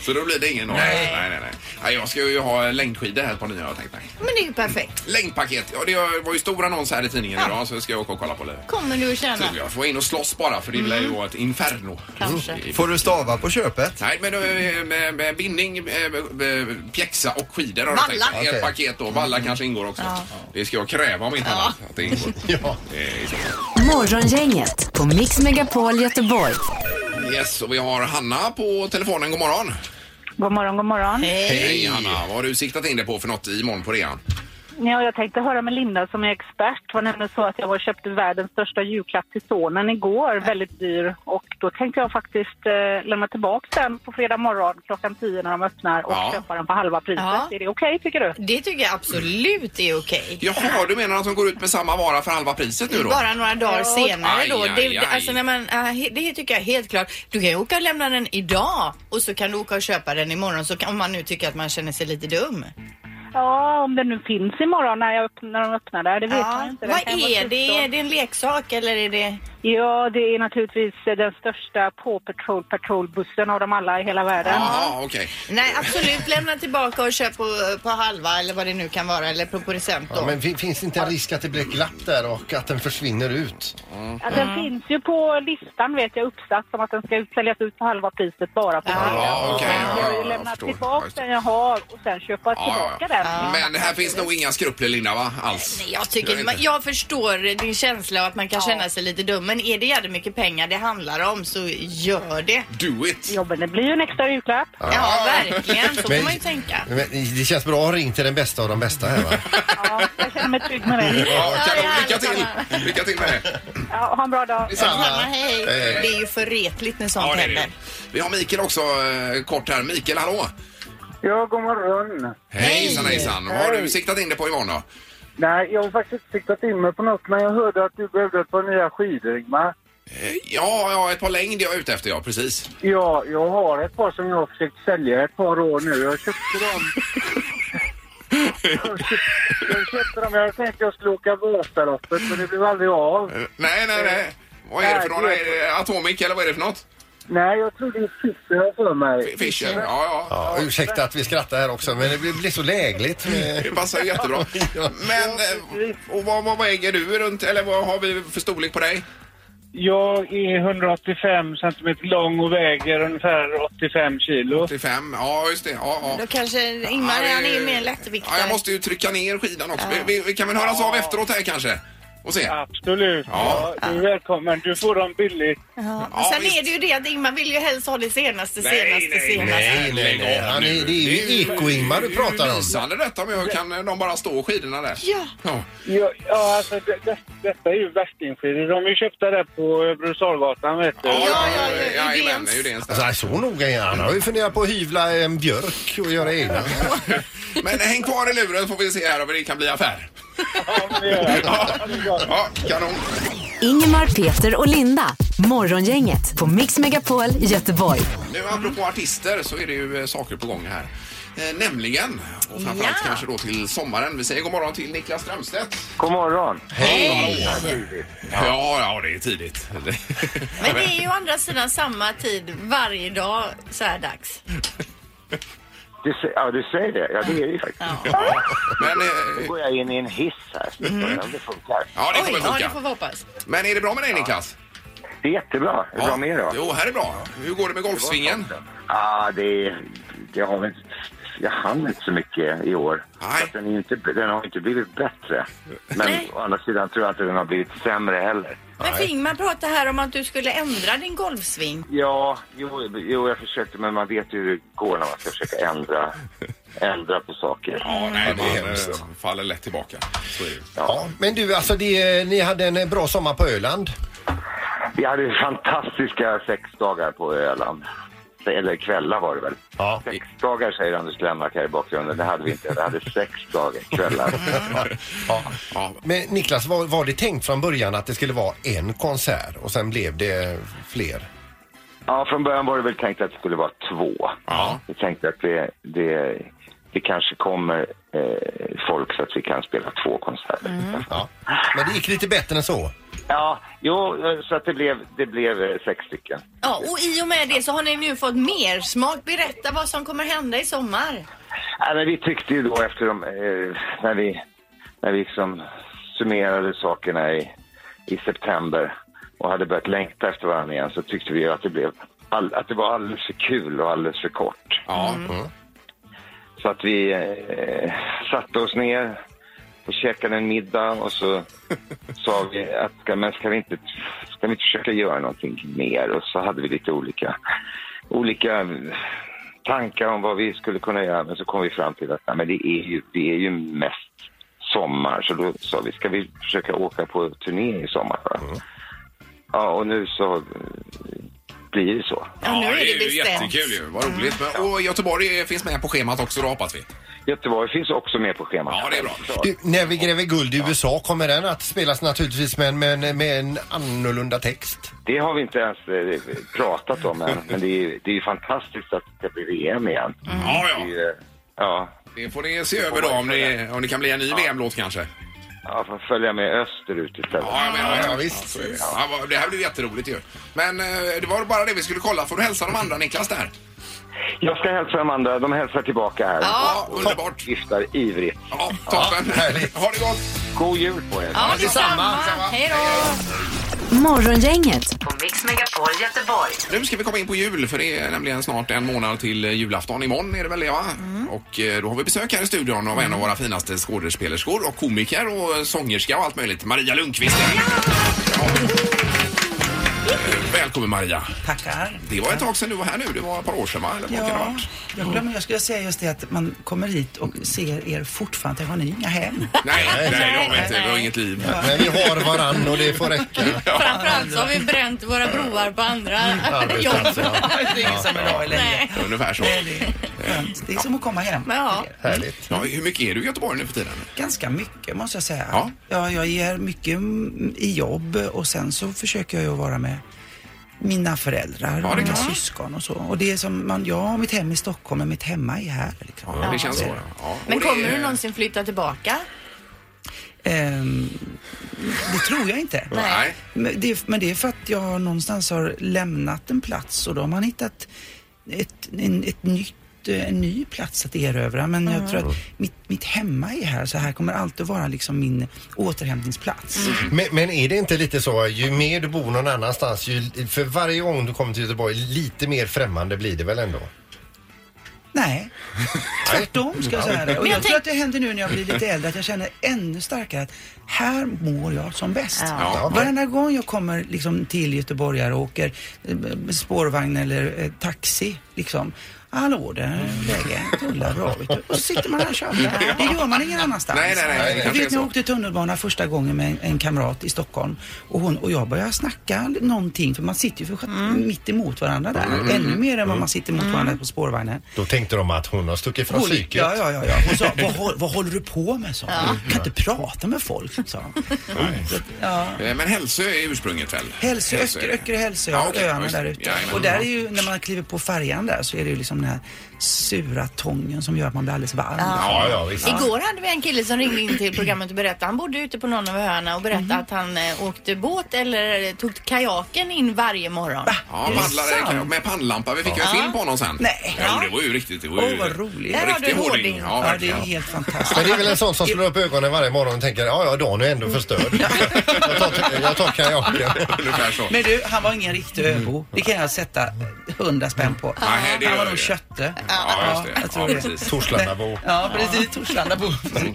Speaker 2: Så då blir det ingen norr.
Speaker 3: Nej.
Speaker 2: Nej, nej, nej. Ja, Jag ska ju ha längdskidor här på nya har jag tänkt mig.
Speaker 3: Men det är ju perfekt.
Speaker 2: Längdpaket. Ja, det var ju stor annons här i tidningen idag så ska jag åka och kolla på det.
Speaker 3: Kommer du att tjäna?
Speaker 2: Tror jag. Får in och slåss bara för det lär ju vara ett inferno.
Speaker 3: Mm. Kanske.
Speaker 7: Får du stava på köpet?
Speaker 2: Nej, men då, eh, med, med bindning, eh, med- med pjäxa och skidor har jag
Speaker 7: Valla.
Speaker 2: tänkt mig. Ett
Speaker 7: Okej.
Speaker 2: paket då. Valla kanske ingår också.
Speaker 9: Ja.
Speaker 2: Det ska jag kräva om inte annat att det ingår. Eh, i så fall.
Speaker 9: Morgongänget på Mix Megapol Göteborg.
Speaker 2: Yes, och vi har Hanna på telefonen. God morgon.
Speaker 10: God morgon, god morgon.
Speaker 2: Hej Hanna, vad har du siktat in dig på för något imorgon på rean?
Speaker 10: Ja, jag tänkte höra med Linda som är expert. Det var nämligen så att jag var och köpte världens största julklapp till sonen igår, väldigt dyr. Och då tänkte jag faktiskt eh, lämna tillbaka den på fredag morgon klockan 10 när de öppnar och
Speaker 2: Ja.
Speaker 10: köpa den för halva priset.
Speaker 3: Ja.
Speaker 10: Är det okej tycker du?
Speaker 3: Det tycker jag absolut är okej.
Speaker 2: Jaha, du menar att de går ut med samma vara för halva priset nu då?
Speaker 3: Bara några dagar
Speaker 2: Ja.
Speaker 3: senare då.
Speaker 2: Aj, aj,
Speaker 3: Det,
Speaker 2: aj.
Speaker 3: alltså när man, äh, he- det tycker jag är helt klart. Du kan ju åka och lämna den idag och så kan du åka och köpa den imorgon så kan, om man nu tycker att man känner sig lite dum.
Speaker 10: Ja, om den nu finns imorgon när, jag öpp- när de öppnar där, det vet man ju inte. Den
Speaker 3: Vad
Speaker 10: kan ju vara
Speaker 3: är det?
Speaker 10: slut då.
Speaker 3: Är det en leksak eller är det...
Speaker 10: Ja, det är naturligtvis eh, den största Paw Patrol Patrol-bussen av dem alla i hela världen.
Speaker 2: Ja, okej.
Speaker 3: Nej, absolut lämna tillbaka och köp på, på halva eller vad det nu kan vara eller på på present då.
Speaker 4: Ja, men fin- finns det inte en risk att det blir ett glapp där och att den försvinner ut?
Speaker 10: Ja, den finns ju på listan vet jag uppsatt som att den ska ut- säljas ut på halva priset bara på fredag.
Speaker 2: Ja, okej, ja,
Speaker 10: jag har
Speaker 2: ja,
Speaker 10: ju
Speaker 2: jag
Speaker 10: lämnat
Speaker 2: förstår. Ja,
Speaker 10: tillbaka
Speaker 2: just
Speaker 10: den jag har och sen köpa
Speaker 2: Ja,
Speaker 10: tillbaka
Speaker 2: ja.
Speaker 10: den.
Speaker 2: Men här finns nog inga skrupler Linda va? Alls.
Speaker 3: Nej, Jag, tycker,
Speaker 2: inte.
Speaker 3: jag, jag förstår din känsla av att man kan känna sig lite dum men är det jävligt mycket pengar det handlar om så gör det.
Speaker 2: Do it!
Speaker 10: Ja, men det blir ju en extra julklapp.
Speaker 3: Ja, verkligen. Så får
Speaker 4: Men-
Speaker 3: man ju tänka.
Speaker 4: Men eh, det känns bra att ha ringt till den bästa av de bästa här va?
Speaker 10: Jag känner mig trygg med det.
Speaker 2: Ja, kanon. Lycka till! Lycka till med det.
Speaker 10: Ja, ha en bra dag.
Speaker 3: Detsamma, hej.
Speaker 2: Hej.
Speaker 3: Det är ju för retligt när sånt
Speaker 2: Eh. Ja, det är det.
Speaker 3: händer.
Speaker 2: Vi har Mikael också eh, kort här. Mikael, hallå!
Speaker 12: Ja, god morgon.
Speaker 2: Hejsan hejsan! Vad har du siktat in dig på imorgon då?
Speaker 12: Nej, jag har faktiskt inte siktat in mig på något, men jag hörde att du behövde ett par nya skidor, Ingmar.
Speaker 2: Eh, Ja, ja, ett par längd jag är ute efter ja, precis.
Speaker 12: Ja, jag har ett par som jag har försökt sälja ett par år nu. Jag köpte dem... Jag köpte- jag köpte dem, jag tänkte jag skulle åka Vasaloppet, men det blev aldrig av.
Speaker 2: Eh, Nej, nej, nej. Vad är det för
Speaker 12: Nej,
Speaker 2: några?
Speaker 12: det
Speaker 2: Är det Atomic eller vad är det för något?
Speaker 12: Nej, jag tror det är Fischer jag har för mig.
Speaker 2: Fischer? Ja, ja.
Speaker 4: Ja, ursäkta att vi skrattar här också men det blir blir så lägligt.
Speaker 2: Det passar ju jättebra. Men, eh, och vad, vad väger du runt, eller vad har vi för storlek på dig?
Speaker 12: Jag är 185 centimeter lång och väger ungefär 85 kilo.
Speaker 2: 85, ja just det. Ja, ja.
Speaker 3: Då kanske Ingmar,
Speaker 2: Ja, det-
Speaker 3: han är ju mer lättviktare.
Speaker 2: Ja, jag måste ju trycka ner skidan också. Vi, vi, vi kan väl höras av efteråt här kanske? Och se.
Speaker 12: Absolut.
Speaker 2: Ja.
Speaker 12: Ja, du är välkommen. Du får dem billigt.
Speaker 3: Ja.
Speaker 2: Ja,
Speaker 3: Sen är det ju det att Ingmar vill ju helst ha det senaste,
Speaker 2: Nej,
Speaker 3: senaste,
Speaker 2: nej,
Speaker 3: senaste.
Speaker 4: Nej, nej, nej. Han är, det är ju eko-Ingmar du pratar om.
Speaker 2: Lysande detta om jag kan eh, de bara stå skidorna där.
Speaker 3: Ja.
Speaker 2: Ja.
Speaker 12: Ja, ja alltså det, det, detta är ju värstingskidor. De är ju köpta där på Brusalgatan, vet du.
Speaker 2: ja, ja, jajamän, det är ju det ens där.
Speaker 4: Alltså, nej, så noga är han. Han har ju funderat på att hyvla en björk och göra egna.
Speaker 2: Men häng kvar i luren får vi se här om det kan bli affär. Ja, ja kanon.
Speaker 9: Ingemar, Peter och Linda. Morgongänget på Mix Megapol Göteborg.
Speaker 2: Nu apropå artister så är det ju eh, saker på gång här. Eh, nämligen, och framförallt
Speaker 3: Ja.
Speaker 2: kanske då till sommaren. Vi säger god morgon till Niklas Strömstedt.
Speaker 12: God morgon.
Speaker 2: Ja, ja, det är tidigt.
Speaker 3: Men det är ju å andra sidan samma tid varje dag så här dags.
Speaker 12: Du, sä- ja, du säger det. Ja, det är det ju faktiskt.
Speaker 2: Men,
Speaker 12: Nu
Speaker 2: eh,
Speaker 12: går jag in i en hiss här. Så
Speaker 2: Mm.
Speaker 12: om det funkar.
Speaker 2: ja, det kommer
Speaker 3: Oj, ja det
Speaker 2: funka.
Speaker 3: får vi hoppas.
Speaker 2: Men är det bra med dig Niklas?
Speaker 12: Det är jättebra. Hur bra med er då?
Speaker 2: Jo, här är bra. Hur går det med golfsvingen?
Speaker 12: Ja, det, det har väl... Jag hann inte så mycket i år.
Speaker 2: Nej.
Speaker 12: Så att Den, är inte, den har inte blivit bättre. Men
Speaker 3: Nej.
Speaker 12: å andra sidan tror jag inte den har blivit sämre heller.
Speaker 3: Men för Ingmar pratade här om att du skulle ändra din golfsving.
Speaker 12: Ja, jo, jo, jag försökte, men man vet ju hur det går när man ska försöka ändra, ändra på saker.
Speaker 2: Ja, nej,
Speaker 4: det är
Speaker 2: man
Speaker 4: hemskt.
Speaker 2: eh, faller lätt tillbaka. Så är det ju.
Speaker 4: Ja, men du, alltså det, ni hade en eh, bra sommar på Öland.
Speaker 12: Vi hade fantastiska sex dagar på Öland. Eller kvällar var det väl?
Speaker 4: Ja.
Speaker 12: Sex dagar säger Anders Glenmark här i bakgrunden. Det hade vi inte. Det hade sex dagar, kvällar.
Speaker 2: Ja,
Speaker 4: Men Niklas, var, var det tänkt från början att det skulle vara en konsert och sen blev det fler?
Speaker 12: Ja, från början var det väl tänkt att det skulle vara två.
Speaker 2: Ja.
Speaker 12: Vi tänkte att det, det, det det kanske kommer eh, folk så att vi kan spela två konserter.
Speaker 4: Ja. Men det gick lite bättre än så.
Speaker 12: Ja, jo, eh, så att det blev, det blev eh, sex stycken.
Speaker 3: Ja, och i och med det så har ni nu fått mer smak. Berätta vad som kommer hända i sommar.
Speaker 12: Nej, men vi tyckte ju då efter de, eh, när vi, när vi liksom summerade sakerna i, i september och hade börjat längta efter varandra igen så tyckte vi ju att det, blev all, att det var alldeles för kul och alldeles för kort.
Speaker 2: Mm.
Speaker 12: Så att vi eh, satte oss ner och käkade en middag och så sa vi att ska, men ska, vi inte, ska vi inte försöka göra någonting mer? Och så hade vi lite olika, olika tankar om vad vi skulle kunna göra men så kom vi fram till att nej, men det, är ju, det är ju mest sommar så då sa vi ska vi försöka åka på turné i sommar? va? Ja, och nu så eh, blir det så.
Speaker 2: Ja, det är ju jättekul ju. Vad roligt. Men, och Göteborg finns med på schemat också då hoppas vi.
Speaker 12: Göteborg finns också med på schemat.
Speaker 2: Ja, det är bra.
Speaker 4: Du, när vi gräver guld i USA kommer den att spelas naturligtvis men med, med en annorlunda text.
Speaker 12: Det har vi inte ens eh, pratat om än, men det är, det är ju fantastiskt att det ska bli VM igen.
Speaker 2: Ja, ja.
Speaker 12: Det är ju, eh, ja.
Speaker 2: Det får ni se över då om det, om det kan bli en ny VM-låt kanske.
Speaker 12: Ja, får följa med österut istället.
Speaker 2: Ja, jag menar, ja, visst. Ja, så är det. ja, vad- det här blev jätteroligt ju. Men eh, det var bara det vi skulle kolla. Får du hälsa de andra Niklas där?
Speaker 12: Jag ska hälsa de andra, de hälsar tillbaka här.
Speaker 2: Ja, underbart.
Speaker 12: Viftar ivrigt.
Speaker 2: Ja, toppen. ha det gott!
Speaker 12: God jul på er!
Speaker 9: Ja, detsamma.
Speaker 3: Hej då!
Speaker 9: Morgongänget på Mix Megapol Göteborg.
Speaker 2: Nu ska vi komma in på jul för det är nämligen snart en månad till eh, julafton. Imorgon är det väl det va? Och eh, då har vi besök här i studion av en av våra finaste skådespelerskor och komiker och eh, sångerska och allt möjligt. Maria Lundqvist. Ja. Eh, Välkommen Maria.
Speaker 13: Tackar.
Speaker 2: Det var ett tag sedan du var här nu. Det var ett par år sedan va? Eller vad kan det ha
Speaker 13: Ja,
Speaker 2: varit?
Speaker 13: jag glömmer, jag skulle säga just det att man kommer hit och ser er fortfarande. Har ni inga hem?
Speaker 2: Nej, nej, nej, det har vi inte. Vi har inget liv.
Speaker 4: Men vi har varann och det får räcka.
Speaker 3: Framförallt så har vi bränt våra broar på andra
Speaker 2: Mm,
Speaker 3: jobb.
Speaker 4: Arbetsplatser, ja.
Speaker 13: Det är ingen som vill ha er längre.
Speaker 2: Ungefär så.
Speaker 13: Det är som att komma hem.
Speaker 3: Ja.
Speaker 4: Härligt.
Speaker 2: Ja, hur mycket är du i Göteborg nu för tiden?
Speaker 13: Ganska mycket måste jag säga. Ja. jag ger mycket mm, i jobb och sen så försöker jag ju vara med mina föräldrar,
Speaker 2: Ja, det är
Speaker 13: mina
Speaker 2: klart.
Speaker 13: syskon och så. Och det är som, man, jag har mitt hem i Stockholm men mitt hemma är här. Liksom.
Speaker 2: Ja, det känns så. Ja.
Speaker 3: Men
Speaker 2: Och det-
Speaker 3: kommer du någonsin flytta tillbaka?
Speaker 13: Ehm, det tror jag inte.
Speaker 2: Nej.
Speaker 13: Men det, är- men det är för att jag någonstans har lämnat en plats och då har man hittat ett, en, ett nytt eh, en ny plats att erövra men jag
Speaker 4: Mm.
Speaker 13: tror att mitt, mitt hemma är här så här kommer alltid vara liksom min återhämtningsplats.
Speaker 4: Men, men är det inte lite så, ju mer du bor någon annanstans, ju, för varje gång du kommer till Göteborg, lite mer främmande blir det väl ändå?
Speaker 13: Nej, tvärtom ska jag säga det. Och jag tror att det händer nu när jag blir lite äldre att jag känner ännu starkare att här mår jag som bäst.
Speaker 4: Ja.
Speaker 13: Varenda gång jag kommer liksom till göteborgare och åker eh, spårvagn eller eh, taxi liksom. Hallå där är läget, rullar bra vet du. Och så sitter man här och tjötar. Det gör man ingen annanstans.
Speaker 2: Nej, nej, nej, det
Speaker 13: Jag
Speaker 2: kanske är
Speaker 13: vet när
Speaker 2: så.
Speaker 13: jag åkte tunnelbana första gången med en, en kamrat i Stockholm och hon och jag började snacka någonting för man sitter ju för
Speaker 2: Mm.
Speaker 13: mitt emot varandra där.
Speaker 4: Mm.
Speaker 13: Ännu mer än vad man sitter mot varandra på spårvagnen.
Speaker 4: Då tänkte de att hon har stuckit från
Speaker 13: Hon-
Speaker 4: psyket.
Speaker 13: Ja, ja, ja, ja. Hon sa, vad, håll- vad håller du på med? Sa hon. Kan inte prata med folk, sa hon. Ja.
Speaker 2: Eh, Men Hälsö är ursprunget väl?
Speaker 13: Hälsö, Öcker,
Speaker 2: är det.
Speaker 13: Öcker och Hälsö,
Speaker 2: Ja, okej.
Speaker 13: öarna
Speaker 2: Just-
Speaker 13: där ute.
Speaker 2: Jajamän.
Speaker 13: och där är ju, när man kliver på färjan där så är det ju liksom den här sura tången som gör att man blir alldeles varm.
Speaker 4: Ja, ja, visst.
Speaker 3: Igår hade vi en kille som ringde in till programmet och berättade. Han bodde ute på någon av öarna och berättade
Speaker 2: Mhm.
Speaker 3: att han eh, åkte båt eller eh, tog kajaken in varje morgon.
Speaker 2: Ja, paddlade kan jag- med pannlampa. Vi fick ju en
Speaker 3: Ja.
Speaker 2: film på honom sen.
Speaker 3: Nej.
Speaker 2: Ja, det var ju riktigt. Åh,
Speaker 13: Åh, vad roligt.
Speaker 2: En
Speaker 13: Där har
Speaker 2: riktig
Speaker 13: du
Speaker 2: hårding.
Speaker 13: hårding.
Speaker 2: Ja,
Speaker 13: Ja,
Speaker 2: verkligen.
Speaker 13: det är helt fantastiskt.
Speaker 4: Men det är väl en sån som slår upp ögonen varje morgon och tänker, ja, ja, dagen är ändå förstörd. Jag tar, jag tar kajaken.
Speaker 2: Ungefär så.
Speaker 13: Men du, han var ingen riktig öbo. Det kan jag sätta hundra spänn på.
Speaker 2: Mm. Nej, det
Speaker 13: han
Speaker 2: gör
Speaker 13: var
Speaker 2: jag.
Speaker 13: nog kötte.
Speaker 2: Ja, just det.
Speaker 13: jag tror
Speaker 2: Ja, precis.
Speaker 4: Torslandabo.
Speaker 13: Ja, precis. Torslandabo.
Speaker 2: Eh,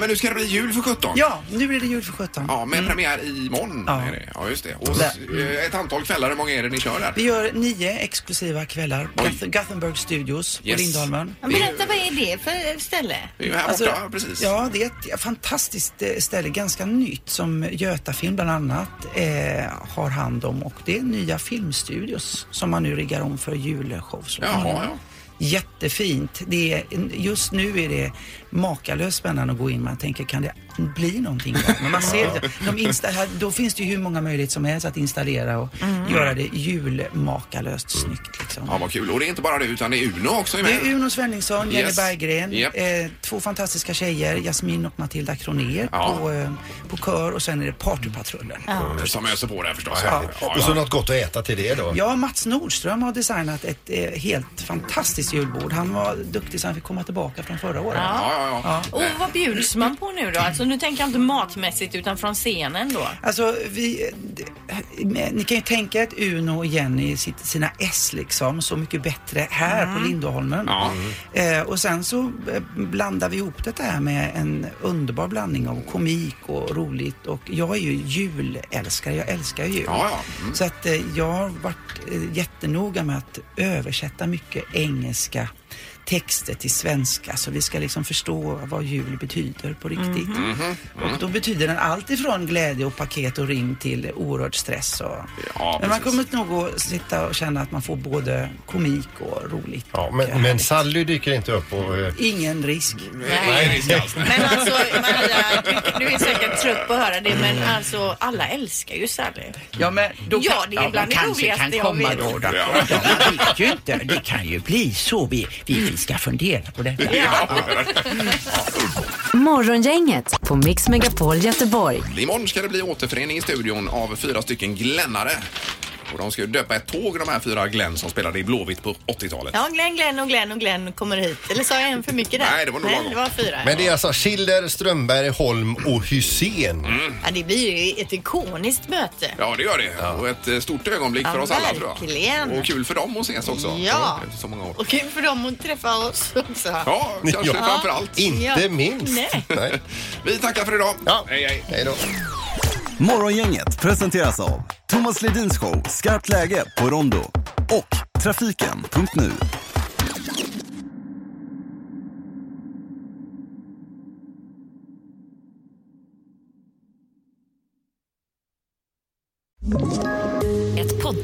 Speaker 2: Men nu ska det bli jul för 17.
Speaker 13: Ja, nu är det jul för sjutton.
Speaker 2: Ja, med premiär imorgon. Är det. ja, just det. Och
Speaker 13: Där.
Speaker 2: s- eh, ett antal kvällar. Hur många är det ni kör där?
Speaker 13: Vi gör nio exklusiva kvällar. Guth- Gothenburg Studios
Speaker 2: Yes.
Speaker 13: på Lindholmen.
Speaker 3: Men Berätta, vad är det för ställe?
Speaker 2: Det är ju här borta,
Speaker 13: Alltså,
Speaker 2: precis.
Speaker 13: Ja, det är ett fantastiskt eh, ställe, ganska nytt som Götafilm bland annat eh, har hand om och det är nya filmstudios som man nu riggar om för julshow. så
Speaker 2: Jaha,
Speaker 13: småningom.
Speaker 2: ja.
Speaker 13: Jättefint. Det är, just nu är det makalöst spännande att gå in. Man tänker, kan det bli någonting? då? Men man ser, de insta- här- då finns det ju hur många möjligheter som helst att installera och
Speaker 2: Mm.
Speaker 13: göra det julmakalöst snyggt. Liksom.
Speaker 2: Ja, vad kul. Och det är inte bara du, utan det är Uno också
Speaker 13: Det
Speaker 2: med.
Speaker 13: är Uno Svenningsson, Jenny
Speaker 2: Yes.
Speaker 13: Berggren,
Speaker 2: Japp.
Speaker 13: eh, två fantastiska tjejer, Jasmin och Matilda Kroner
Speaker 2: Ja.
Speaker 13: på, eh, på kör och sen är det Partypatrullen.
Speaker 2: Som öser på där förstås.
Speaker 4: Ja. Och så något gott att äta till det då.
Speaker 13: Ja, Mats Nordström har designat ett eh, helt fantastiskt julbord. Han var duktig så han fick komma tillbaka från förra året.
Speaker 3: Ja.
Speaker 13: Ja.
Speaker 3: Och vad bjuds man på nu då? Alltså nu tänker jag inte matmässigt utan från scenen då.
Speaker 13: Alltså, vi, eh, ni kan ju tänka att Uno och Jenny sitter sina S liksom, så mycket bättre här
Speaker 3: Mm.
Speaker 13: på Lindholmen.
Speaker 1: Ja.
Speaker 13: Eh, och sen så eh, blandar vi ihop det här med en underbar blandning av komik och roligt och jag är ju julälskare, jag älskar ju jul.
Speaker 1: Ja, ja.
Speaker 4: Mm.
Speaker 13: Så att eh, jag har varit eh, jättenoga med att översätta mycket engelska texter till svenska så vi ska liksom förstå vad jul betyder på riktigt.
Speaker 1: Mhm. Mhm. Mm.
Speaker 13: Och då betyder den allt ifrån glädje och paket och rim till oerhörd stress. Och... men man
Speaker 4: precis.
Speaker 13: kommer nog att sitta och känna att man får både komik och roligt.
Speaker 4: Ja, men, men Sally dyker inte upp och... eh,
Speaker 13: Ingen risk.
Speaker 3: Men alltså Maria, du, du är säkert trött på att höra det men alltså alla älskar ju Sally.
Speaker 13: Ja, men
Speaker 3: då kan- Ja, det är bland det roligaste jag vet.
Speaker 14: Ja. vi vet ju inte. Det kan ju bli så. Vi, vi, vi ska fundera på detta.
Speaker 2: Mm.
Speaker 9: Morgongänget på Mix Megapol Göteborg.
Speaker 2: Imorgon ska det bli återförening i studion av fyra stycken glännare. Och de ska ju döpa ett tåg de här fyra Glenn som spelade i Blåvitt på 80-talet.
Speaker 3: Ja, Glenn, Glenn och Glenn och Glenn kommer hit. Eller sa jag en för mycket där?
Speaker 2: Nej, det var nog lagom.
Speaker 3: det var fyra.
Speaker 4: Men det är alltså Schiller, Strömberg, Holm och Hussein.
Speaker 13: Mm.
Speaker 3: Ja, det blir ju ett ikoniskt möte.
Speaker 2: Ja, det gör det. Och ett eh, stort ögonblick för
Speaker 3: Ja,
Speaker 2: oss alla tror jag.
Speaker 3: verkligen.
Speaker 2: Och kul för dem att ses också.
Speaker 3: Ja.
Speaker 2: Efter Så många år.
Speaker 3: Och kul för dem att träffa oss också.
Speaker 2: Ja, kanske framför allt.
Speaker 3: Ja. Nej.
Speaker 2: Vi tackar för idag. Hej, hej.
Speaker 15: Morgongänget presenteras av Thomas Ledins show Skarpt läge på Rondo och Trafiken.nu.
Speaker 9: Ett